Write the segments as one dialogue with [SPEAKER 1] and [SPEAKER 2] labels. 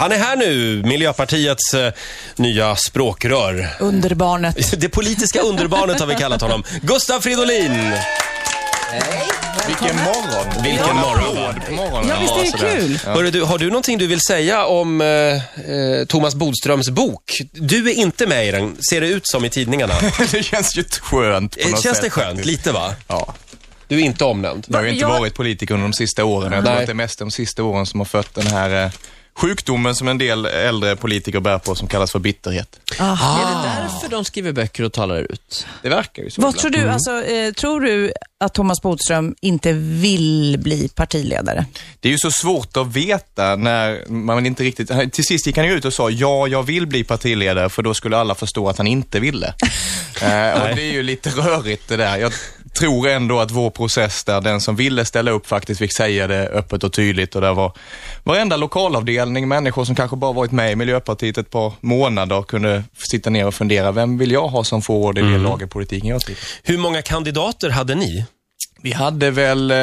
[SPEAKER 1] Han är här nu, Miljöpartiets eh, nya språkrör.
[SPEAKER 2] Underbarnet.
[SPEAKER 1] Det politiska underbarnet har vi kallat honom. Gustav Fridolin!
[SPEAKER 3] Vilken morgon!
[SPEAKER 1] Vilken morgon! va?
[SPEAKER 3] På morgonen.
[SPEAKER 2] Ja, visst är det kul?
[SPEAKER 1] Hörru, du, har du någonting du vill säga om eh, eh, Thomas Bodströms bok? Du är inte med i den, ser det ut som i tidningarna.
[SPEAKER 3] det känns ju skönt på
[SPEAKER 1] Eh, Känns
[SPEAKER 3] något sätt,
[SPEAKER 1] det skönt?
[SPEAKER 3] faktiskt.
[SPEAKER 1] Lite va?
[SPEAKER 3] Ja.
[SPEAKER 1] Du är inte omnämnd.
[SPEAKER 3] Jag har ju inte
[SPEAKER 2] Jag-
[SPEAKER 3] varit politiker under de sista åren. Jag tror
[SPEAKER 1] Nej.
[SPEAKER 3] att det är mest de sista åren som har fött den här eh, sjukdomen som en del äldre politiker bär på som kallas för bitterhet.
[SPEAKER 4] Är det därför de skriver böcker och talar ut?
[SPEAKER 3] Det verkar ju så.
[SPEAKER 2] Vad
[SPEAKER 3] ibland.
[SPEAKER 2] tror du, alltså, eh, tror du att Thomas Bodström inte vill bli partiledare?
[SPEAKER 3] Det är ju så svårt att veta när man inte riktigt... han- Till sist gick han ju ut och sa ja, jag vill bli partiledare för då skulle alla förstå att han inte ville. eh, och det är ju lite rörigt det där. Jag tror ändå att vår process där den som ville ställa upp faktiskt fick säga det öppet och tydligt och där var varenda lokalavdelning, människor som kanske bara varit med i Miljöpartiet ett par månader kunde sitta ner och fundera, vem vill jag ha som förord i det lag i politiken jag tycker?
[SPEAKER 1] Hur många kandidater hade ni?
[SPEAKER 3] Vi hade väl eh,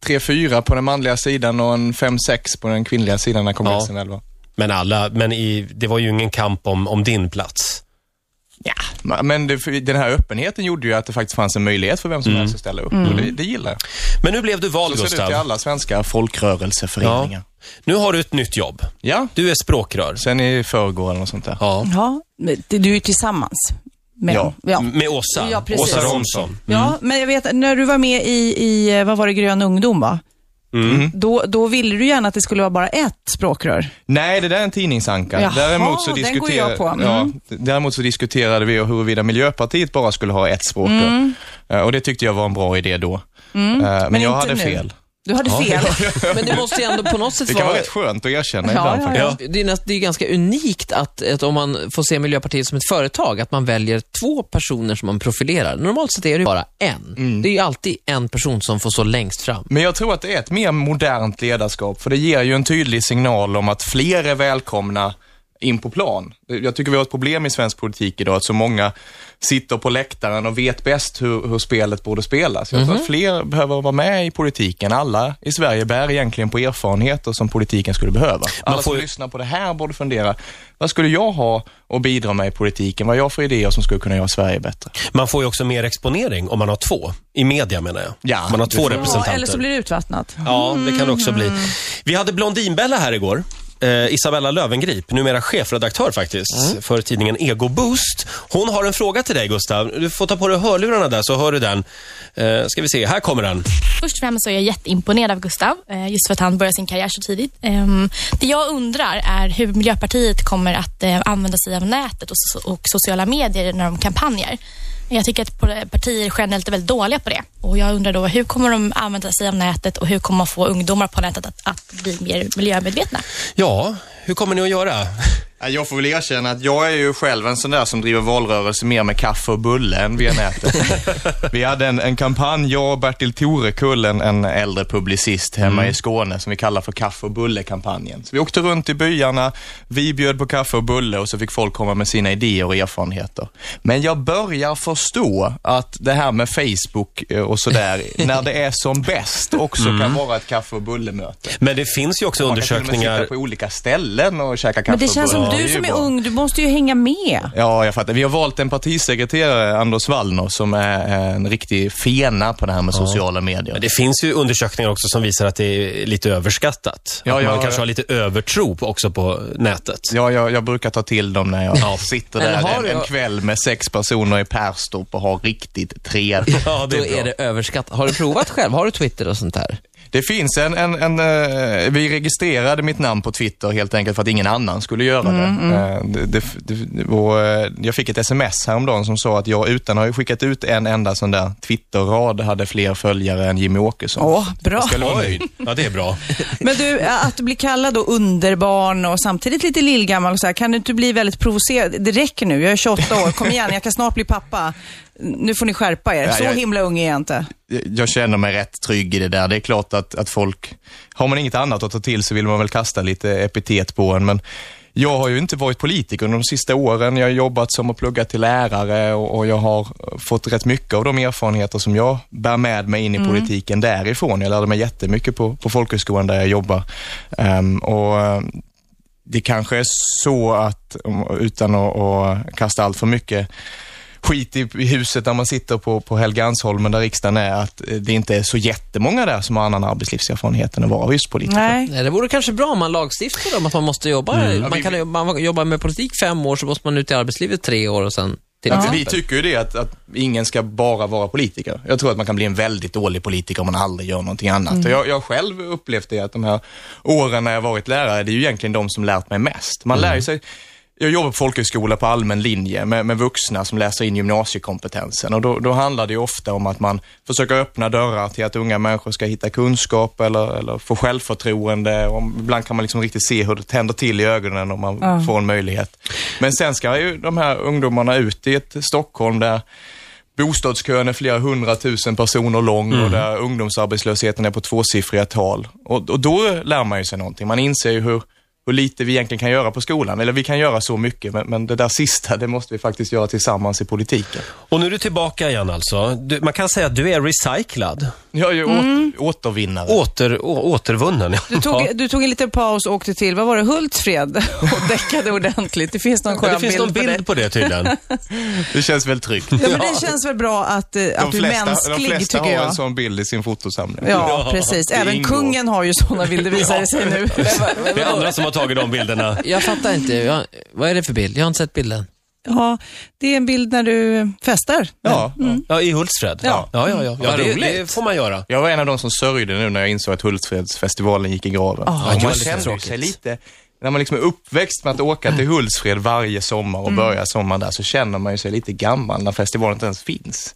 [SPEAKER 3] tre, fyra på den manliga sidan och en fem, sex på den kvinnliga sidan när kongressen väl var.
[SPEAKER 1] Men alla, men i, det var ju ingen kamp om, om din plats.
[SPEAKER 3] Ma- Men det, för den här öppenheten gjorde ju att det faktiskt fanns en möjlighet för vem som helst att ställa
[SPEAKER 2] Mm.
[SPEAKER 3] upp. Och det, det gillar jag.
[SPEAKER 1] Men nu blev du vald,
[SPEAKER 3] Så ser det ut i
[SPEAKER 1] Mm. Gustav.
[SPEAKER 3] alla svenska folkrörelseföreningar.
[SPEAKER 1] Nu har du ett nytt jobb.
[SPEAKER 3] Ja. ja.
[SPEAKER 1] Du är språkrör.
[SPEAKER 3] Sen i förrgår eller något sånt där.
[SPEAKER 1] Ja.
[SPEAKER 2] Ja, men det- du är ju tillsammans med
[SPEAKER 3] Ja. Mm.
[SPEAKER 2] honom. Ja.
[SPEAKER 1] Med Åsa.
[SPEAKER 2] Ja, precis.
[SPEAKER 1] Åsa Romson.
[SPEAKER 2] ja, men jag vet när du var med i, i eh, vad var det, Grön ungdom va?
[SPEAKER 3] Mm.
[SPEAKER 2] Då, då ville du gärna att det skulle vara bara ett språkrör.
[SPEAKER 3] Nej, det där är en tidningsanka.
[SPEAKER 2] Jaha,
[SPEAKER 3] däremot, så
[SPEAKER 2] den går jag
[SPEAKER 3] diskuterade,
[SPEAKER 2] på. Mm.
[SPEAKER 3] ja, d- däremot så diskuterade vi huruvida Miljöpartiet bara skulle ha ett språk.
[SPEAKER 2] Mm.
[SPEAKER 3] då. Eh, Och det tyckte jag var en bra idé då. Eh, Men, jag
[SPEAKER 2] inte
[SPEAKER 3] hade
[SPEAKER 2] nu.
[SPEAKER 3] fel.
[SPEAKER 2] Du hade fel.
[SPEAKER 4] Men det måste ju ändå på något
[SPEAKER 3] Det
[SPEAKER 4] sätt
[SPEAKER 3] kan vara
[SPEAKER 4] vara...
[SPEAKER 3] rätt skönt att erkänna
[SPEAKER 2] Ja,
[SPEAKER 3] ibland
[SPEAKER 2] ja,
[SPEAKER 3] faktiskt.
[SPEAKER 1] Ja.
[SPEAKER 4] Det är, näst, det är ganska unikt att, att om man får se Miljöpartiet som ett företag, att man väljer två personer som man profilerar. Normalt sett är det ju bara en.
[SPEAKER 3] Mm.
[SPEAKER 4] Det är ju alltid en person som får stå längst fram.
[SPEAKER 3] Men jag tror att det är ett mer modernt ledarskap, för det ger ju en tydlig signal om att fler är välkomna in på plan. Jag tycker vi har ett problem i svensk politik idag, att så många sitter på läktaren och vet bäst hur, hur spelet borde spelas. Jag tror
[SPEAKER 1] Mhm.
[SPEAKER 3] att fler behöver vara med i politiken. Alla i Sverige bär egentligen på erfarenheter som politiken skulle behöva. Alla
[SPEAKER 1] får
[SPEAKER 3] som
[SPEAKER 1] ju-
[SPEAKER 3] lyssnar på det här borde fundera, vad skulle jag ha att bidra med i politiken? Vad har jag för idéer som skulle kunna göra Sverige bättre?
[SPEAKER 1] Man får ju också mer exponering om man har två. I media menar jag.
[SPEAKER 3] Ja,
[SPEAKER 1] man har
[SPEAKER 3] det
[SPEAKER 1] två
[SPEAKER 3] får-
[SPEAKER 2] Ja,
[SPEAKER 1] representanter.
[SPEAKER 2] eller så blir Mm. det utvattnat.
[SPEAKER 1] Ja, det kan det också bli. Vi hade Blondinbella här igår. Eh, Isabella Lövengrip, numera chefredaktör faktiskt,
[SPEAKER 3] Mm.
[SPEAKER 1] för tidningen Ego Boost. Hon har en fråga till dig, Gustav. Du får ta på dig hörlurarna där, så hör du den. Eh, ska vi se, här kommer den.
[SPEAKER 5] Först och främst så är jag jätteimponerad av Gustav, eh, just för att han började sin karriär så tidigt. Ehm, Det jag undrar är hur Miljöpartiet kommer att eh, använda sig av nätet och so- och sociala medier när de kampanjer. Jag tycker att pol- partier generellt är väldigt dåliga på det. Och jag undrar då, hur kommer de använda sig av nätet och hur kommer man få ungdomar på nätet att, att bli mer miljömedvetna?
[SPEAKER 1] Ja, hur kommer ni att göra?
[SPEAKER 3] Ja, Jag får väl erkänna att jag är ju själv en sån där som driver valrörelse mer med kaffe och bulle än via nätet. vi hade en, en kampanj, jag och Bertil Torekull, en, en äldre publicist hemma i Skåne, som vi kallar för kaffe och bulle-kampanjen. Så vi åkte runt i byarna, vi bjöd på kaffe och bulle och så fick folk komma med sina idéer och erfarenheter. Men jag börjar förstå att det här med Facebook eh, och sådär, när det är som bäst, också kan vara ett kaffe och bulle-möte.
[SPEAKER 1] Men det finns ju också
[SPEAKER 3] Man kan till och med
[SPEAKER 1] undersökningar...
[SPEAKER 3] sitta på olika ställen och käka kaffe
[SPEAKER 2] Men det
[SPEAKER 3] och
[SPEAKER 2] känns som
[SPEAKER 3] bulle.
[SPEAKER 2] du
[SPEAKER 3] Det
[SPEAKER 2] som
[SPEAKER 3] ju
[SPEAKER 2] är
[SPEAKER 3] bra.
[SPEAKER 2] ung, du måste ju hänga med.
[SPEAKER 3] Ja, jag fattar. Vi har valt en partisekreterare, Anders Wallner, som är en riktig fena på det här med sociala medier.
[SPEAKER 1] Men det finns ju undersökningar också som visar att det är lite överskattat.
[SPEAKER 3] Ja,
[SPEAKER 1] att man
[SPEAKER 3] ja,
[SPEAKER 1] kanske
[SPEAKER 3] ja.
[SPEAKER 1] har lite övertro på- också på nätet.
[SPEAKER 3] Ja, jag, jag brukar ta till dem när jag sitter
[SPEAKER 4] Men har
[SPEAKER 3] där en,
[SPEAKER 4] du-
[SPEAKER 3] en kväll med sex personer i Perstorp och har riktigt trevligt.
[SPEAKER 1] Ja,
[SPEAKER 4] Då är det överskattat. Har du provat själv? Har du Twitter och sånt där?
[SPEAKER 3] Det finns en, en, en eh, vi registrerade mitt namn på Twitter helt enkelt för att ingen annan skulle göra det.
[SPEAKER 1] Mm,
[SPEAKER 3] Eh, det, det, det och, eh, jag fick ett sms häromdagen som sa att jag utan att ha skickat ut en enda sån där Twitter-rad hade fler följare än Jimmy Åkesson.
[SPEAKER 2] Åh, bra.
[SPEAKER 3] Skulle vara nöjd.
[SPEAKER 1] Oj, ja det är bra.
[SPEAKER 2] Men du, att du blir kallad då underbarn och samtidigt lite lillgammal och så här, kan du inte bli väldigt provocerad? Det räcker nu, jag är 28 år, kom igen, jag kan snart bli pappa. Nu får ni skärpa er,
[SPEAKER 3] Ja,
[SPEAKER 2] så
[SPEAKER 3] jag-
[SPEAKER 2] himla ung är jag inte.
[SPEAKER 3] jag känner mig rätt trygg i det där. Det är klart att, att folk, har man inget annat att ta till så vill man väl kasta lite epitet på en, men jag har ju inte varit politiker under de sista åren. Jag har jobbat som och pluggat till lärare och, och jag har fått rätt mycket av de erfarenheter som jag bär med mig in i politiken därifrån. Jag lärde mig jättemycket på, på folkhögskolan där jag jobbar. Ehm, och eh, det kanske är så att, om- utan att, att kasta allt för mycket skit i, i huset där man sitter på, på Helgeandsholmen där riksdagen är, att eh, det inte är så jättemånga där som har annan arbetslivserfarenhet än att vara just politiker.
[SPEAKER 2] Nej.
[SPEAKER 4] Nej, det vore kanske bra om man lagstiftade om att man måste jobba.
[SPEAKER 3] Mm.
[SPEAKER 4] Man kan ju- man jobbar med politik fem år, så måste man ut i arbetslivet tre år och sen till
[SPEAKER 3] Att
[SPEAKER 4] exempel.
[SPEAKER 3] Vi tycker ju det att, att ingen ska bara vara politiker. Jag tror att man kan bli en väldigt dålig politiker om man aldrig gör någonting annat. Och jag, jag har själv upplevt det att de här åren när jag varit lärare, det är ju egentligen de som lärt mig mest. Man lär ju sig jag jobbar på folkhögskola på allmän linje med, med vuxna som läser in gymnasiekompetensen och då, då handlar det ju ofta om att man försöker öppna dörrar till att unga människor ska hitta kunskap eller, eller få självförtroende. Och ibland kan man liksom riktigt se hur det tänder till i ögonen om man får en möjlighet. Men sen ska ju de här ungdomarna ut i ett Stockholm där bostadskön är flera hundratusen personer lång
[SPEAKER 2] Mm.
[SPEAKER 3] och där ungdomsarbetslösheten är på tvåsiffriga tal. Och, och då lär man ju sig någonting. Man inser ju hur, hur lite vi egentligen kan göra på skolan. Eller vi kan göra så mycket, men, men det där sista, det måste vi faktiskt göra tillsammans i politiken.
[SPEAKER 1] Och nu är du tillbaka igen alltså. Du, man kan säga att du är recyclad.
[SPEAKER 3] Jag är ju
[SPEAKER 2] Mm.
[SPEAKER 3] åter, återvinnare.
[SPEAKER 1] Åter, å, återvunnen.
[SPEAKER 2] Du tog, du tog en liten paus och åkte till, vad var det, Hultsfred och däckade ordentligt. Det finns någon
[SPEAKER 1] Ja,
[SPEAKER 2] skön
[SPEAKER 1] det finns någon
[SPEAKER 2] bild, på
[SPEAKER 1] bild
[SPEAKER 2] det.
[SPEAKER 1] på det tydligen.
[SPEAKER 3] Det känns väl tryggt.
[SPEAKER 2] Ja, men det känns väl bra att, eh, att
[SPEAKER 3] de
[SPEAKER 2] du är
[SPEAKER 3] flesta, de
[SPEAKER 2] mänsklig,
[SPEAKER 3] flesta
[SPEAKER 2] tycker
[SPEAKER 3] har en
[SPEAKER 2] jag.
[SPEAKER 3] sån bild i sin fotosamling.
[SPEAKER 2] Ja, precis.
[SPEAKER 3] det
[SPEAKER 2] Även
[SPEAKER 3] ingår.
[SPEAKER 2] kungen har ju sådana bilder, visar det sig nu.
[SPEAKER 1] Det är andra som har tagit de bilderna.
[SPEAKER 4] Jag fattar inte. Jag, vad är det för bild? Jag har inte sett bilden.
[SPEAKER 2] Ja, det är en bild när du festar.
[SPEAKER 3] Ja.
[SPEAKER 2] Mm.
[SPEAKER 1] Ja, i Hultsfred.
[SPEAKER 2] Ja.
[SPEAKER 1] ja, ja. ja, ja
[SPEAKER 4] Vad
[SPEAKER 1] det,
[SPEAKER 4] roligt.
[SPEAKER 1] det får man göra.
[SPEAKER 3] Jag var en av de som sörjde nu när jag insåg att Hultsfredsfestivalen gick i graven.
[SPEAKER 2] Ah,
[SPEAKER 1] Ja, just
[SPEAKER 3] man
[SPEAKER 1] det.
[SPEAKER 3] kände ju sig
[SPEAKER 1] Tråkigt.
[SPEAKER 3] lite, när man liksom är uppväxt med att åka till Hultsfred varje sommar och
[SPEAKER 2] Mm.
[SPEAKER 3] börja sommaren där, så känner man ju sig lite gammal när festivalen inte ens finns.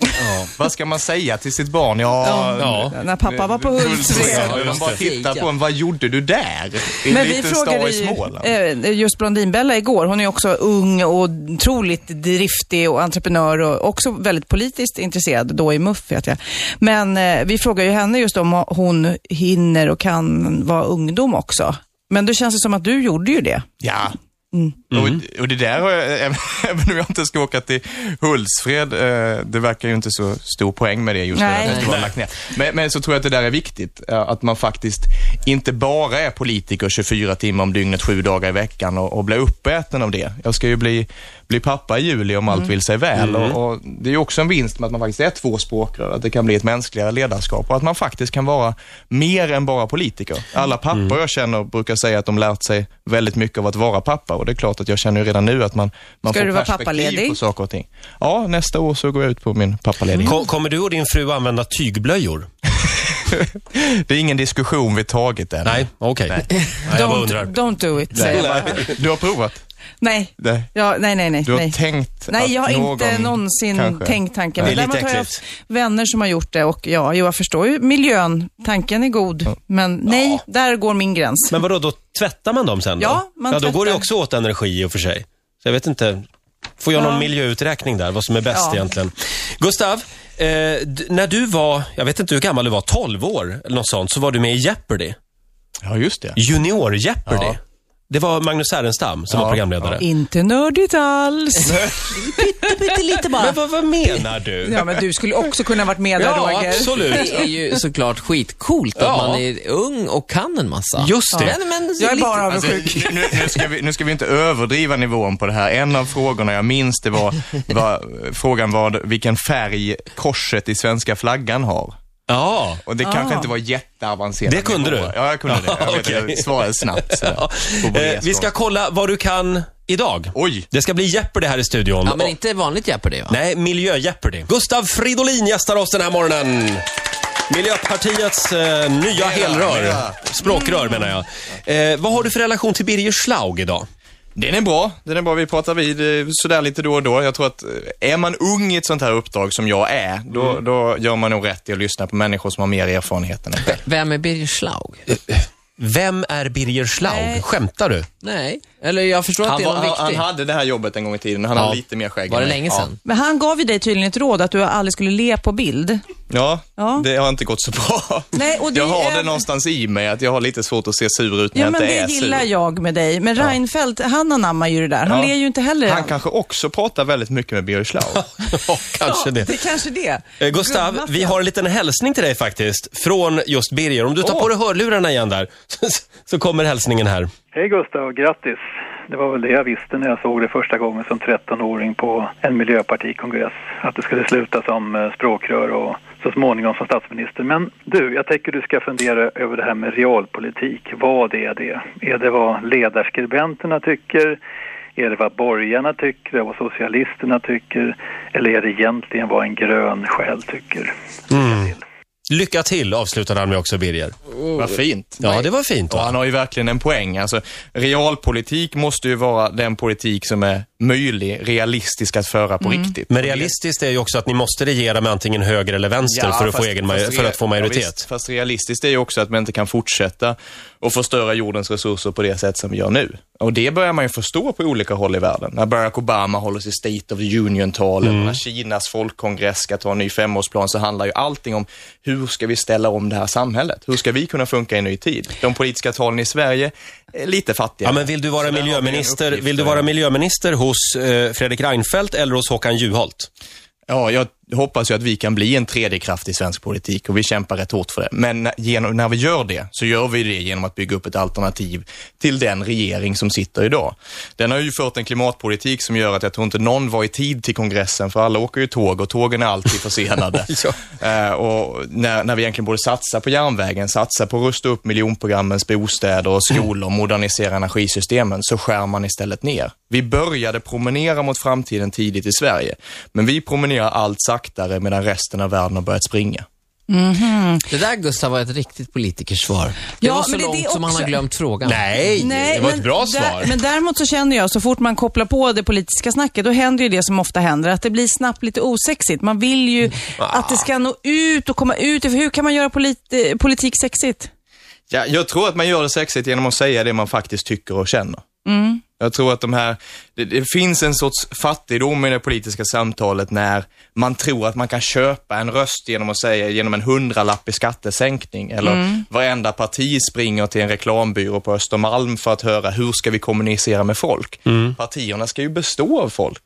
[SPEAKER 3] Vad ska man säga till sitt barn? Ja,
[SPEAKER 1] Ja.
[SPEAKER 2] När pappa var på Hultsfred.
[SPEAKER 1] Ja,
[SPEAKER 3] Och
[SPEAKER 1] just
[SPEAKER 3] de bara
[SPEAKER 1] det.
[SPEAKER 3] tittar på en, vad gjorde du där? I en
[SPEAKER 2] Men vi
[SPEAKER 3] liten stad
[SPEAKER 2] frågade
[SPEAKER 3] i
[SPEAKER 2] ju
[SPEAKER 3] Småland.
[SPEAKER 2] eh, just Blondinbella igår. Hon är också ung och otroligt driftig och entreprenör och också väldigt politiskt intresserad. Då i MUF vet jag. Men eh, vi frågar ju henne just om hon hinner och kan vara ungdom också. Men det känns det som att du gjorde ju det.
[SPEAKER 3] Ja.
[SPEAKER 2] Mm.
[SPEAKER 3] Och, och det där har jag, även även om jag inte ska åka till Hultsfred, eh, det verkar ju inte så stor poäng med det just nu.
[SPEAKER 2] Nej.
[SPEAKER 3] Jag har lagt ner. Men, men så tror jag att det där är viktigt, eh, att man faktiskt inte bara är politiker 24 timmar om dygnet, sju dagar i veckan och, och blir uppäten av det. Jag ska ju bli, bli pappa i juli om allt vill sig väl och, och det är ju också en vinst med att man faktiskt är två språkrör, att det kan bli ett mänskligare ledarskap och att man faktiskt kan vara mer än bara politiker. Alla pappor jag känner brukar säga att de lärt sig väldigt mycket av att vara pappa och det är klart att jag känner ju redan nu att man, man
[SPEAKER 2] Ska
[SPEAKER 3] får
[SPEAKER 2] du vara
[SPEAKER 3] perspektiv
[SPEAKER 2] pappaledig?
[SPEAKER 3] på saker och ting. Ja, nästa år så går jag ut på min pappaledighet.
[SPEAKER 1] Ko- Kommer du och din fru använda tygblöjor?
[SPEAKER 3] Det är ingen diskussion vi tagit än.
[SPEAKER 1] Nej, okej. Nej, jag bara undrar.
[SPEAKER 2] Don't, don't do it, säger jag bara.
[SPEAKER 3] Du har provat?
[SPEAKER 2] Nej.
[SPEAKER 3] Nej.
[SPEAKER 2] Ja, nej, nej, nej.
[SPEAKER 3] Du har
[SPEAKER 2] nej.
[SPEAKER 3] tänkt
[SPEAKER 2] Nej, jag har
[SPEAKER 3] att någon
[SPEAKER 2] inte någonsin
[SPEAKER 3] kanske-
[SPEAKER 2] tänkt tanken.
[SPEAKER 1] Det
[SPEAKER 2] Det
[SPEAKER 1] är
[SPEAKER 2] där
[SPEAKER 1] lite
[SPEAKER 2] man har
[SPEAKER 1] äckligt.
[SPEAKER 2] haft vänner som har gjort det och ja, jo, jag förstår ju miljön, tanken är god, men nej, där går min gräns.
[SPEAKER 1] Men vadå, då tvättar man dem sen då?
[SPEAKER 2] Ja, man
[SPEAKER 1] ja, då går det
[SPEAKER 2] tvättar.
[SPEAKER 1] också åt energi i och för sig. Så jag vet inte, får jag någon miljöuträkning där, vad som är bäst
[SPEAKER 2] Ja.
[SPEAKER 1] egentligen. Gustav, eh, d- när du var, jag vet inte hur gammal du var, 12 år eller något sånt, så var du med i Jeopardy.
[SPEAKER 3] Ja, just det.
[SPEAKER 1] Junior Jeopardy.
[SPEAKER 3] Ja.
[SPEAKER 1] Det var Magnus Härenstam som var programledare.
[SPEAKER 2] Inte nördigt alls.
[SPEAKER 4] Pyttelite bara.
[SPEAKER 1] Men vad, vad menar du?
[SPEAKER 2] Ja, men du skulle också kunna varit med där,
[SPEAKER 1] Ja,
[SPEAKER 2] Roger.
[SPEAKER 1] absolut.
[SPEAKER 4] Det är ju såklart skitcoolt att
[SPEAKER 1] Ja.
[SPEAKER 4] man är ung och kan en massa.
[SPEAKER 1] Just det.
[SPEAKER 4] Men, men,
[SPEAKER 2] Jag är
[SPEAKER 4] lite-
[SPEAKER 2] bara
[SPEAKER 3] Alltså,
[SPEAKER 2] avundsjuk.
[SPEAKER 3] nu, nu, ska vi, nu ska vi inte överdriva nivån på det här. En av frågorna jag minns det var, var frågan var vilken färg korset i svenska flaggan har.
[SPEAKER 1] Ja.
[SPEAKER 3] Och det
[SPEAKER 2] Ah.
[SPEAKER 3] kanske inte var jätteavancerat.
[SPEAKER 1] Det kunde du?
[SPEAKER 3] Ja, jag kunde det. Jag, vet,
[SPEAKER 1] Okej.
[SPEAKER 3] jag svarade snabbt. sådär. På
[SPEAKER 1] Eh, vi ska
[SPEAKER 3] Boreas
[SPEAKER 1] kolla vad du kan idag.
[SPEAKER 3] Oj.
[SPEAKER 1] Det ska bli Jeopardy här i studion.
[SPEAKER 4] Ja, men
[SPEAKER 1] Och-
[SPEAKER 4] inte vanligt Jeopardy va?
[SPEAKER 1] Nej, miljö-Jeopardy. Gustav Fridolin gästar oss den här morgonen. Miljöpartiets eh, nya helrör.
[SPEAKER 3] mera. Mm.
[SPEAKER 1] Språkrör menar jag. Eh, vad har du för relation till Birger Schlaug idag?
[SPEAKER 3] Den är bra. Den är bra. Vi pratar vid eh, sådär lite då och då. Jag tror att eh, är man ung i ett sånt här uppdrag som jag är, då, då gör man nog rätt i att lyssna på människor som har mer erfarenhet än en själv.
[SPEAKER 4] Vem är Birger Schlaug?
[SPEAKER 1] Vem är Birger Schlaug?
[SPEAKER 2] Nej.
[SPEAKER 1] Skämtar du?
[SPEAKER 4] Nej, eller jag förstår att
[SPEAKER 3] Han,
[SPEAKER 4] det är
[SPEAKER 3] var,
[SPEAKER 4] någon
[SPEAKER 3] han,
[SPEAKER 4] viktig.
[SPEAKER 3] han hade det här jobbet en gång i tiden. Han
[SPEAKER 4] Ja.
[SPEAKER 3] hade lite mer skägg
[SPEAKER 4] Var det
[SPEAKER 3] än mig.
[SPEAKER 4] länge
[SPEAKER 3] Ja.
[SPEAKER 4] sedan?
[SPEAKER 2] Men han gav ju dig tydligen ett råd att du aldrig skulle le på bild.
[SPEAKER 3] Ja,
[SPEAKER 2] Ja.
[SPEAKER 3] det har inte gått så bra.
[SPEAKER 2] Nej, och det
[SPEAKER 3] jag har
[SPEAKER 2] är-
[SPEAKER 3] det någonstans i mig, att jag har lite svårt att se sur ut när
[SPEAKER 2] Ja, men
[SPEAKER 3] jag inte
[SPEAKER 2] det
[SPEAKER 3] är
[SPEAKER 2] gillar
[SPEAKER 3] sur.
[SPEAKER 2] jag med dig. Men Reinfeldt, han anammar ju det där. Han
[SPEAKER 3] Ja.
[SPEAKER 2] ler ju inte heller.
[SPEAKER 3] Han kanske också pratar väldigt mycket med Birger Schlaug.
[SPEAKER 1] Ja, kanske
[SPEAKER 2] ja,
[SPEAKER 1] det.
[SPEAKER 2] är kanske det.
[SPEAKER 1] Eh, Gustav,
[SPEAKER 2] Gubbmaffian.
[SPEAKER 1] vi har en liten hälsning till dig faktiskt, från just Birger. Om du tar på dig hörlurarna igen där, så kommer hälsningen här.
[SPEAKER 6] Hej Gustav, grattis. Det var väl det jag visste när jag såg det första gången som 13-åring på en miljöpartikongress. Att det skulle sluta som eh, språkrör och så småningom som statsminister. Men du, jag tänker du ska fundera över det här med realpolitik. Vad är det? Är det vad ledarskribenterna tycker? Är det vad borgarna tycker? Vad socialisterna tycker? Eller är det egentligen vad en grön själ tycker?
[SPEAKER 1] Lycka till, avslutade han med också, Birger.
[SPEAKER 3] Vad fint.
[SPEAKER 1] Ja, det var fint.
[SPEAKER 3] Och
[SPEAKER 1] Va?
[SPEAKER 3] han har ju verkligen en poäng. Alltså, realpolitik måste ju vara den politik som är möjlig, realistisk att föra på riktigt.
[SPEAKER 1] Men realistiskt är ju också att ni måste regera med antingen höger eller vänster för, att få
[SPEAKER 3] fast-
[SPEAKER 1] egen
[SPEAKER 3] fast
[SPEAKER 1] maj- för
[SPEAKER 3] rea-
[SPEAKER 1] att få
[SPEAKER 3] Ja, visst,
[SPEAKER 1] majoritet.
[SPEAKER 3] fast realistiskt är ju också att man inte kan fortsätta och förstöra jordens resurser på det sätt som vi gör nu. Och det börjar man ju förstå på olika håll i världen. När Barack Obama håller sitt State of the Union-tal,
[SPEAKER 1] Mm.
[SPEAKER 3] eller när Kinas folkkongress ska ta en ny femårsplan, så handlar ju allting om hur ska vi ställa om det här samhället? Hur ska vi kunna funka i en ny tid? De politiska talen i Sverige är lite fattiga.
[SPEAKER 1] Ja, men vill du vara
[SPEAKER 3] där har vi en
[SPEAKER 1] miljöminister,
[SPEAKER 3] uppgift eh,
[SPEAKER 1] vill du
[SPEAKER 3] där.
[SPEAKER 1] vara miljöminister hos eh, Fredrik Reinfeldt eller hos Håkan Juholt?
[SPEAKER 3] Ja, jag hoppas ju att vi kan bli en tredje kraft i svensk politik och vi kämpar rätt hårt för det. Men genom, när vi gör det så gör vi det genom att bygga upp ett alternativ till den regering som sitter idag. Den har ju fört en klimatpolitik som gör att jag tror inte någon var i tid till kongressen för alla åker ju tåg och tågen är alltid försenade. Eh, och när, när vi egentligen borde satsa på järnvägen, satsa på att rusta upp miljonprogrammens bostäder och skolor, modernisera energisystemen, så skär man istället ner. Vi började promenera mot framtiden tidigt i Sverige, men vi promenerar allt saktare medan resten av världen har börjat springa.
[SPEAKER 4] Det där Gustav var ett riktigt politikersvar. Det
[SPEAKER 2] Ja,
[SPEAKER 4] var så
[SPEAKER 2] men det är
[SPEAKER 4] långt
[SPEAKER 2] det
[SPEAKER 4] som han
[SPEAKER 2] också.
[SPEAKER 4] har glömt frågan.
[SPEAKER 1] Nej, det var
[SPEAKER 2] men
[SPEAKER 1] ett bra
[SPEAKER 2] där-
[SPEAKER 1] svar.
[SPEAKER 2] Men däremot så känner jag, så fort man kopplar på det politiska snacket, då händer ju det som ofta händer, att det blir snabbt lite osexigt. Man vill ju
[SPEAKER 1] Mm.
[SPEAKER 2] att
[SPEAKER 1] Ah.
[SPEAKER 2] det ska nå ut och komma ut. För Hur kan man göra polit- eh, politik sexigt?
[SPEAKER 3] Ja, jag tror att man gör det sexigt genom att säga det man faktiskt tycker och känner. Jag tror att de här, det, det finns en sorts fattigdom i det politiska samtalet när man tror att man kan köpa en röst genom att säga, genom en hundralapp i skattesänkning. Eller varenda parti springer till en reklambyrå på Östermalm för att höra hur ska vi kommunicera med folk. Partierna ska ju bestå av folk.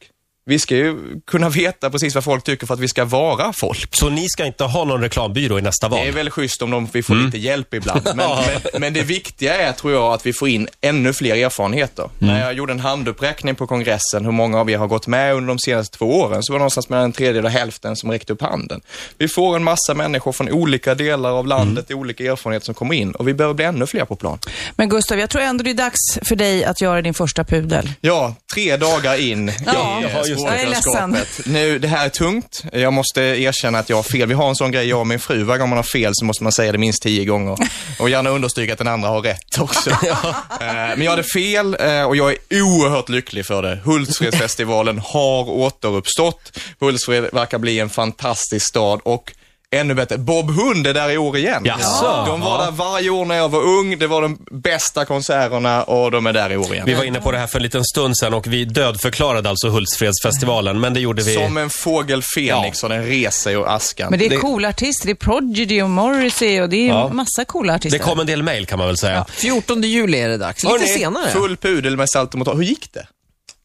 [SPEAKER 3] Vi ska ju kunna veta precis vad folk tycker för att vi ska vara folk.
[SPEAKER 1] Så ni ska inte ha någon reklambyrå i nästa val?
[SPEAKER 3] Det är väl schysst om de, vi får lite hjälp ibland. Men, men, men det viktiga är, tror jag, att vi får in ännu fler erfarenheter. När jag gjorde en handuppräckning på kongressen, hur många av er har gått med under de senaste två åren, så var det någonstans mellan en tredjedel och hälften som räckte upp handen. Vi får en massa människor från olika delar av landet, i olika erfarenheter som kommer in och vi behöver bli ännu fler på plan.
[SPEAKER 2] Men Gustav, jag tror ändå det är dags för dig att göra din första pudel.
[SPEAKER 3] Ja, tre dagar in
[SPEAKER 2] Ja,
[SPEAKER 3] i eh,
[SPEAKER 1] just det.
[SPEAKER 2] Jag är ledsen.
[SPEAKER 3] språkkunskapet. Nu, det här är tungt. Jag måste erkänna att jag har fel. Vi har en sån grej, jag och min fru. Varje gång man har fel så måste man säga det minst tio gånger. Och gärna understryka att den andra har rätt också. Eh, Men jag hade fel eh, och jag är oerhört lycklig för det. Hultsfredsfestivalen har återuppstått. Hultsfred verkar bli en fantastisk stad och Ännu bättre, Bob Hund är där i år igen.
[SPEAKER 1] Jaså?
[SPEAKER 3] De var där varje år när jag var ung, det var de bästa konserterna och de är där i år igen.
[SPEAKER 1] Vi var inne på det här för en liten stund sedan och vi dödförklarade alltså Hultsfredsfestivalen, men det gjorde vi...
[SPEAKER 3] Som en fågel Fenix och den reser ur askan.
[SPEAKER 2] Men det är coola artister, det är Prodigy och Morrissey och det är ju massa coola
[SPEAKER 1] Det
[SPEAKER 2] artister.
[SPEAKER 1] kom en del mejl kan man väl säga.
[SPEAKER 4] 14 juli är det dags. Lite
[SPEAKER 3] Hörrni,
[SPEAKER 4] senare.
[SPEAKER 3] Full pudel med salt och motad. Hur gick det?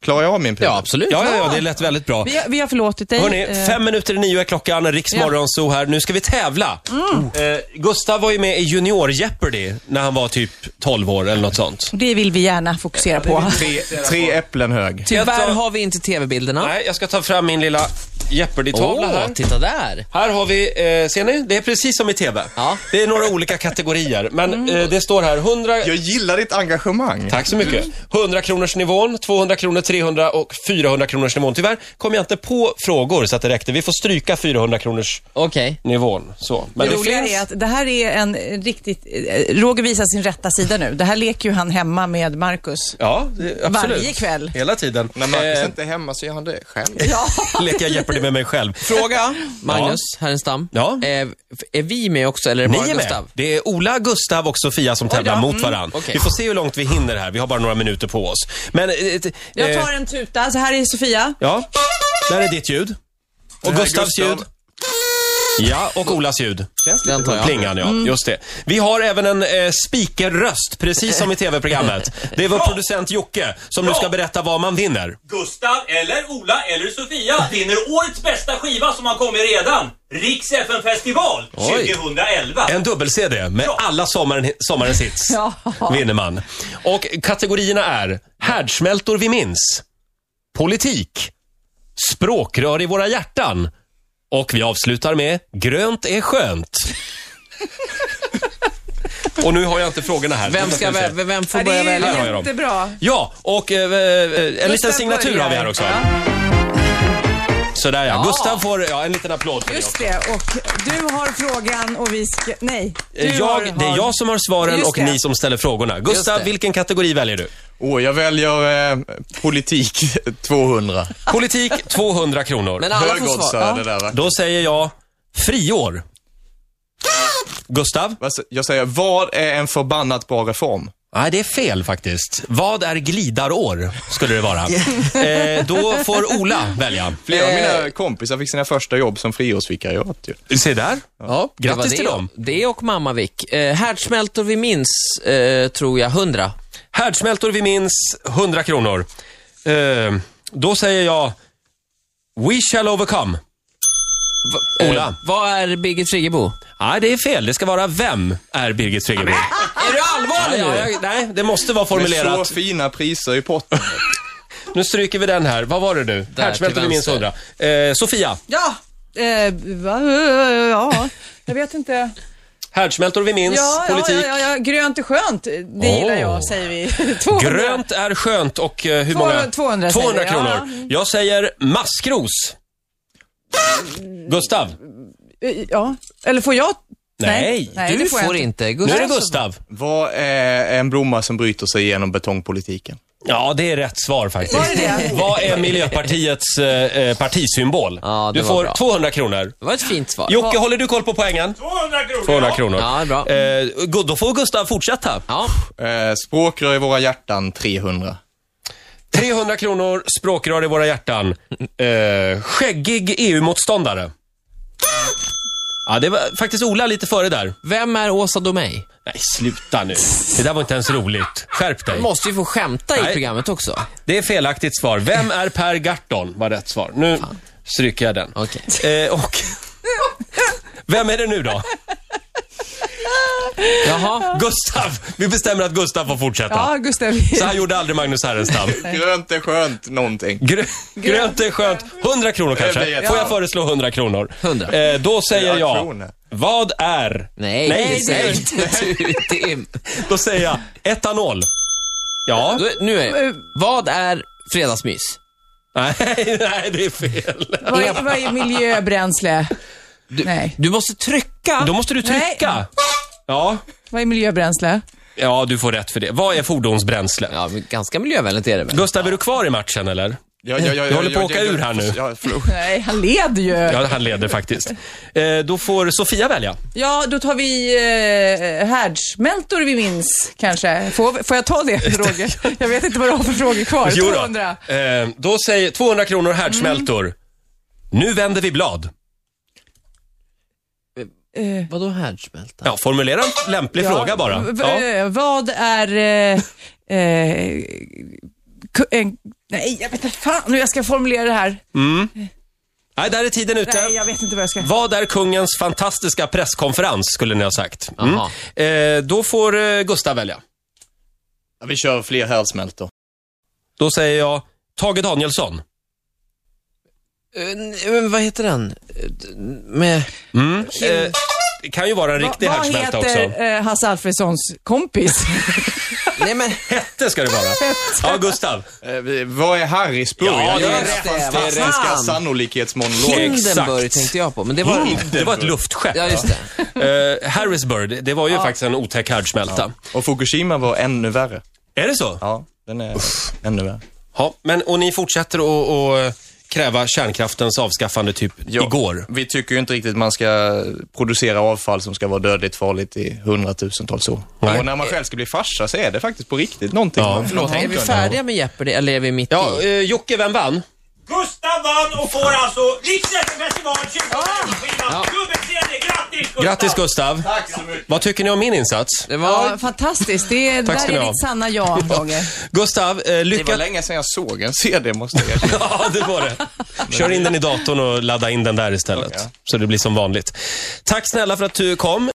[SPEAKER 3] Klarar jag av min pudel?
[SPEAKER 4] Ja, absolut.
[SPEAKER 1] Ja, ja, ja, det lät väldigt bra.
[SPEAKER 2] vi, har, vi har förlåtit dig.
[SPEAKER 1] Hörni,
[SPEAKER 2] Eh,
[SPEAKER 1] fem minuter i nio är klockan, Riksmorgon så här. Nu ska vi tävla.
[SPEAKER 3] Mm.
[SPEAKER 1] Eh, Gustav var ju med i Junior Jeopardy när han var typ 12 år eller något sånt.
[SPEAKER 2] Det vill vi gärna fokusera på.
[SPEAKER 3] Tre, tre äpplen hög.
[SPEAKER 4] Tyvärr har vi inte tv-bilderna.
[SPEAKER 1] Nej, jag ska ta fram min lilla Jeopardy-tavla
[SPEAKER 4] Åh,
[SPEAKER 1] här.
[SPEAKER 4] titta där.
[SPEAKER 1] Här har vi, eh, ser ni? Det är precis som i TV.
[SPEAKER 4] Ja.
[SPEAKER 1] Det är några olika kategorier, men
[SPEAKER 2] Mm.
[SPEAKER 1] eh, det står här 100...
[SPEAKER 3] Jag gillar ditt engagemang.
[SPEAKER 1] Tack så mycket. 100 kronors nivån, 200 kronor, 300 och 400 kronors nivån. Tyvärr kom jag inte på frågor så att det räckte. Vi får stryka 400 kronors
[SPEAKER 4] Okej.
[SPEAKER 1] nivån. Så. Men
[SPEAKER 2] Det roliga är att det här är en riktigt... eh, Roger visar sin rätta sida nu. Det här leker ju han hemma med Marcus.
[SPEAKER 1] Ja, det, absolut.
[SPEAKER 2] Varje kväll.
[SPEAKER 1] Hela tiden.
[SPEAKER 3] När Marcus
[SPEAKER 1] Eh,
[SPEAKER 3] inte är hemma så gör han det själv.
[SPEAKER 1] leker jag Jeopardy med mig själv.
[SPEAKER 4] Fråga, Magnus Härenstam.
[SPEAKER 1] Ja.
[SPEAKER 4] Är, är vi med också, eller är det
[SPEAKER 1] Ni
[SPEAKER 4] bara
[SPEAKER 1] är med.
[SPEAKER 4] Gustav?
[SPEAKER 1] Det är Ola, Gustav och Sofia som tävlar
[SPEAKER 2] Mm.
[SPEAKER 1] mot varandra.
[SPEAKER 4] okej.
[SPEAKER 1] Vi får se hur långt vi hinner här. Vi har bara några minuter på oss. Men... eh, eh,
[SPEAKER 2] Jag tar en tuta, så här är Sofia.
[SPEAKER 1] Ja, där är ditt ljud. Och
[SPEAKER 3] här är
[SPEAKER 1] Gustavs
[SPEAKER 3] Gustav.
[SPEAKER 1] ljud. Ja, och Olas ljud.
[SPEAKER 4] Den tar jag.
[SPEAKER 1] Plingan, ja.
[SPEAKER 3] Mm.
[SPEAKER 1] Just det. Vi har även en eh, speakerröst, precis som i tv-programmet. Det är vår producent Jocke som nu ska berätta vad man vinner.
[SPEAKER 7] Gustav eller Ola eller Sofia vinner årets bästa skiva som har kommit redan. Riks FN-festival
[SPEAKER 4] Oj.
[SPEAKER 7] 2011.
[SPEAKER 1] En dubbel-CD med alla sommaren, sommarens hits
[SPEAKER 2] Ja.
[SPEAKER 1] vinner man. Och kategorierna är härdsmältor vi minns, politik, språkrör i våra hjärtan och vi avslutar med grönt är skönt. och nu har jag inte frågorna här.
[SPEAKER 4] Vem,
[SPEAKER 1] Vänta,
[SPEAKER 4] ska,
[SPEAKER 1] vi se.
[SPEAKER 4] vä- vem får
[SPEAKER 2] Ja, det
[SPEAKER 4] börja välja?
[SPEAKER 1] har
[SPEAKER 2] är
[SPEAKER 1] jag
[SPEAKER 2] ju
[SPEAKER 1] dem.
[SPEAKER 2] jättebra.
[SPEAKER 1] Ja, och eh, eh, en
[SPEAKER 2] Gustav
[SPEAKER 1] liten signatur
[SPEAKER 2] börjar.
[SPEAKER 1] har vi här också.
[SPEAKER 2] Ja,
[SPEAKER 1] Sådär ja. Gustav får ja, en liten applåd för
[SPEAKER 2] just det. Och du har frågan och vi ska... Nej. Du
[SPEAKER 1] det. Eh,
[SPEAKER 2] har,
[SPEAKER 1] Jag, det är jag som har svaren
[SPEAKER 2] Just
[SPEAKER 1] och
[SPEAKER 2] det.
[SPEAKER 1] ni som ställer frågorna. Gustav,
[SPEAKER 4] det.
[SPEAKER 1] vilken kategori väljer du?
[SPEAKER 3] Åh, jag väljer eh, politik 200.
[SPEAKER 1] Politik 200 kronor.
[SPEAKER 4] Men alla
[SPEAKER 3] Hög
[SPEAKER 4] får
[SPEAKER 3] odds
[SPEAKER 4] svara.
[SPEAKER 3] är det
[SPEAKER 4] Ja.
[SPEAKER 3] där va?
[SPEAKER 1] Då säger jag friår. Gustav?
[SPEAKER 3] Vad s- Jag säger, vad är en förbannat bra reform?
[SPEAKER 1] Nej, det är fel faktiskt. Vad är glidarår? Skulle det vara. eh, då får Ola välja.
[SPEAKER 3] Flera
[SPEAKER 4] Eh.
[SPEAKER 3] av mina kompisar fick sina första jobb som friårsvikariat ju.
[SPEAKER 1] Se där.
[SPEAKER 4] Ja, det
[SPEAKER 1] Grattis
[SPEAKER 4] var det.
[SPEAKER 1] till dem.
[SPEAKER 4] Det och Mamma Vick. Eh, härdsmältor vi minns, eh, tror jag, 100.
[SPEAKER 1] Härdsmältor vi minns, 100 kronor. Eh, då säger jag We shall overcome.
[SPEAKER 4] Eh,
[SPEAKER 1] Ola.
[SPEAKER 4] Vad är Birgit Friggebo?
[SPEAKER 1] Nej, det är fel. Det ska vara Vem är Birgit Friggebo?
[SPEAKER 4] Är du
[SPEAKER 1] Ja,
[SPEAKER 4] allvarlig
[SPEAKER 1] ja,
[SPEAKER 4] nu?
[SPEAKER 1] jag- nej, det måste vara
[SPEAKER 3] Med så
[SPEAKER 1] formulerat.
[SPEAKER 3] fina priser i potten.
[SPEAKER 1] Nu stryker vi den här. Vad var det du? Härdsmältor vi
[SPEAKER 4] till
[SPEAKER 1] minns, 100.
[SPEAKER 4] vänster.
[SPEAKER 1] Eh, Sofia,
[SPEAKER 2] Ja. Eh, va? ja, jag vet inte.
[SPEAKER 1] härdsmältor vi minns,
[SPEAKER 2] Ja, ja,
[SPEAKER 1] politik.
[SPEAKER 2] ja, ja, ja. grönt är skönt. Det gillar jag, säger vi. 200.
[SPEAKER 1] Grönt är skönt och eh, hur många?
[SPEAKER 2] 200 säger
[SPEAKER 1] 200
[SPEAKER 2] jag.
[SPEAKER 1] kronor.
[SPEAKER 2] Ja. mm.
[SPEAKER 1] Jag säger maskros. Gustav?
[SPEAKER 2] Eh, Ja, eller får jag?
[SPEAKER 1] Nej,
[SPEAKER 4] Du
[SPEAKER 2] det jag
[SPEAKER 4] får inte.
[SPEAKER 1] Nu
[SPEAKER 4] Gustav.
[SPEAKER 1] är det Gustav.
[SPEAKER 3] vad är en blomma som bryter sig igenom betongpolitiken?
[SPEAKER 1] Ja, det är rätt svar faktiskt.
[SPEAKER 2] Var det det?
[SPEAKER 1] Vad är Miljöpartiets eh, eh, partisymbol?
[SPEAKER 4] Ja, det
[SPEAKER 1] du
[SPEAKER 4] var
[SPEAKER 1] får
[SPEAKER 4] bra.
[SPEAKER 1] 200 kronor.
[SPEAKER 4] Det var ett fint svar.
[SPEAKER 1] Jocke, håller du koll på poängen?
[SPEAKER 7] 200 kronor!
[SPEAKER 1] 200 kronor.
[SPEAKER 4] Ja, bra.
[SPEAKER 1] Eh, gu- då får Gustav fortsätta.
[SPEAKER 4] Ja,
[SPEAKER 3] Eh, språkrör i våra hjärtan 300.
[SPEAKER 1] 300 kronor, språkrör i våra hjärtan. Eh, skäggig EU-motståndare. Ja, det var faktiskt Ola lite före där.
[SPEAKER 4] vem är Åsa Domeij?
[SPEAKER 1] Nej, sluta nu. Det där var inte ens roligt. Skärp dig.
[SPEAKER 4] Man måste ju få skämta
[SPEAKER 1] Nej.
[SPEAKER 4] i programmet också.
[SPEAKER 1] Det är felaktigt svar. Vem är Per Garton? Var rätt svar. Nu stryker jag den.
[SPEAKER 4] Okej.
[SPEAKER 1] Eh, och... Vem är det nu då?
[SPEAKER 4] Jaha.
[SPEAKER 1] Gustav! Vi bestämmer att Gustav får fortsätta.
[SPEAKER 2] Ja, Gustav.
[SPEAKER 1] Så här gjorde aldrig Magnus Härenstam.
[SPEAKER 3] Grönt är skönt någonting.
[SPEAKER 1] Grö- grönt är skönt. 100 kronor
[SPEAKER 3] Det blir
[SPEAKER 1] kanske.
[SPEAKER 3] jättebra.
[SPEAKER 1] Får jag föreslå 100 kronor?
[SPEAKER 4] 100.
[SPEAKER 1] Eh, då säger
[SPEAKER 3] Fyra
[SPEAKER 1] jag,
[SPEAKER 3] kronor.
[SPEAKER 1] vad är...
[SPEAKER 4] Nej,
[SPEAKER 1] Nej,
[SPEAKER 4] det
[SPEAKER 1] det
[SPEAKER 4] säger
[SPEAKER 1] är
[SPEAKER 4] inte du, Tim.
[SPEAKER 1] Då säger jag etanol. Ja.
[SPEAKER 4] Då- Nu är det. Vad är fredagsmys?
[SPEAKER 1] Nej, nej, det är fel.
[SPEAKER 2] Vad är, vad är miljöbränsle? Nej.
[SPEAKER 4] Du måste trycka.
[SPEAKER 1] Då måste du trycka. Ja.
[SPEAKER 2] Vad är miljöbränsle?
[SPEAKER 1] ja, du får rätt för det. Vad är fordonsbränsle?
[SPEAKER 4] Ja, men ganska miljövänligt är det väl?
[SPEAKER 1] Gustav, är du kvar i matchen eller?
[SPEAKER 3] Jag, jag, jag,
[SPEAKER 1] Du håller på att åka ur här nu.
[SPEAKER 3] Jag, förlåt.
[SPEAKER 2] Nej, han leder ju. Ja,
[SPEAKER 1] Ja, han leder faktiskt. Eh, då får Sofia välja.
[SPEAKER 2] då tar vi eh, härdsmältor vi minns kanske. Får, får jag ta det, Roger? Jag vet inte vad du har för frågor kvar.
[SPEAKER 1] Jo då.
[SPEAKER 2] 200.
[SPEAKER 1] Eh, då säger 200 kronor härdsmältor. Nu vänder vi blad.
[SPEAKER 4] Vadå härdsmälta?
[SPEAKER 1] Ja, formulera en lämplig fråga bara.
[SPEAKER 2] V-
[SPEAKER 1] Ja.
[SPEAKER 2] eh, Vad är... Eh, eh, ku- en, nej, jag vet inte fan nu jag ska formulera det här.
[SPEAKER 1] Nej, där är tiden ute.
[SPEAKER 2] Nej, jag vet inte vad jag ska...
[SPEAKER 1] Vad är kungens fantastiska presskonferens, skulle ni ha sagt.
[SPEAKER 4] Jaha.
[SPEAKER 1] Eh, då får eh, Gustav välja.
[SPEAKER 3] Ja, Vi kör fler härdsmältor.
[SPEAKER 1] Då säger jag Tage Danielsson.
[SPEAKER 4] Eh, n- men vad heter den? Eh, d- Med...
[SPEAKER 1] Mm. Eh, det kan ju vara en riktig
[SPEAKER 2] vad
[SPEAKER 1] härdsmälta också.
[SPEAKER 2] heter eh, Hasse Alfredsons kompis?
[SPEAKER 4] Nej, men...
[SPEAKER 1] Hette ska det vara. Ja, Gustav.
[SPEAKER 3] Eh, vi- vad är Harrisburg?
[SPEAKER 1] Ja,
[SPEAKER 3] Jag
[SPEAKER 1] det är
[SPEAKER 3] gör
[SPEAKER 1] rätt.
[SPEAKER 3] den
[SPEAKER 4] Vad
[SPEAKER 3] Fantastiska
[SPEAKER 4] fan.
[SPEAKER 3] sannolikhetsmonolog.
[SPEAKER 4] Hindenburg
[SPEAKER 1] Exakt.
[SPEAKER 4] tänkte jag på, men det var...
[SPEAKER 1] Det var ett luftskepp.
[SPEAKER 4] Ja, just det.
[SPEAKER 1] Eh, Harrisburg, det var ju faktiskt en otäck härdsmälta.
[SPEAKER 3] Och Fukushima var ännu värre.
[SPEAKER 1] Är det så? Ja.
[SPEAKER 3] Ja, den är ännu värre.
[SPEAKER 1] men, och ni fortsätter att att kräva kärnkraftens avskaffande typ
[SPEAKER 3] Ja,
[SPEAKER 1] igår?
[SPEAKER 3] Vi tycker ju inte riktigt man ska producera avfall som ska vara dödligt farligt i hundratusentals år.
[SPEAKER 1] Nej.
[SPEAKER 3] Och när man själv ska bli farsa så är det faktiskt på riktigt någonting.
[SPEAKER 1] Ja.
[SPEAKER 3] man- man
[SPEAKER 4] Är
[SPEAKER 3] tänker
[SPEAKER 4] vi
[SPEAKER 3] på.
[SPEAKER 4] färdiga med Jeopardy, eller är vi mitt
[SPEAKER 1] Ja,
[SPEAKER 4] i?
[SPEAKER 1] eh, Jocke, vem vann?
[SPEAKER 7] Gustav vann och får alltså Riks FN-festival 2020-skivan. Dubbel-CD. Grattis
[SPEAKER 1] Grattis Gustav!
[SPEAKER 7] Gustav!
[SPEAKER 3] Tack så mycket.
[SPEAKER 1] Vad tycker ni om min insats?
[SPEAKER 4] Det var...
[SPEAKER 2] Ja, fantastiskt. Det är,
[SPEAKER 1] Tack ska
[SPEAKER 2] där
[SPEAKER 1] ni
[SPEAKER 2] är
[SPEAKER 1] ha.
[SPEAKER 2] ditt sanna jag, Roger.
[SPEAKER 1] Gustav, eh,
[SPEAKER 3] Det var
[SPEAKER 1] lycka...
[SPEAKER 3] länge sedan jag såg en CD, måste jag erkänna.
[SPEAKER 1] Ja, det var det. Kör in den i datorn och ladda in den där istället.
[SPEAKER 3] Okej.
[SPEAKER 1] Så det blir som vanligt. Tack snälla för att du kom.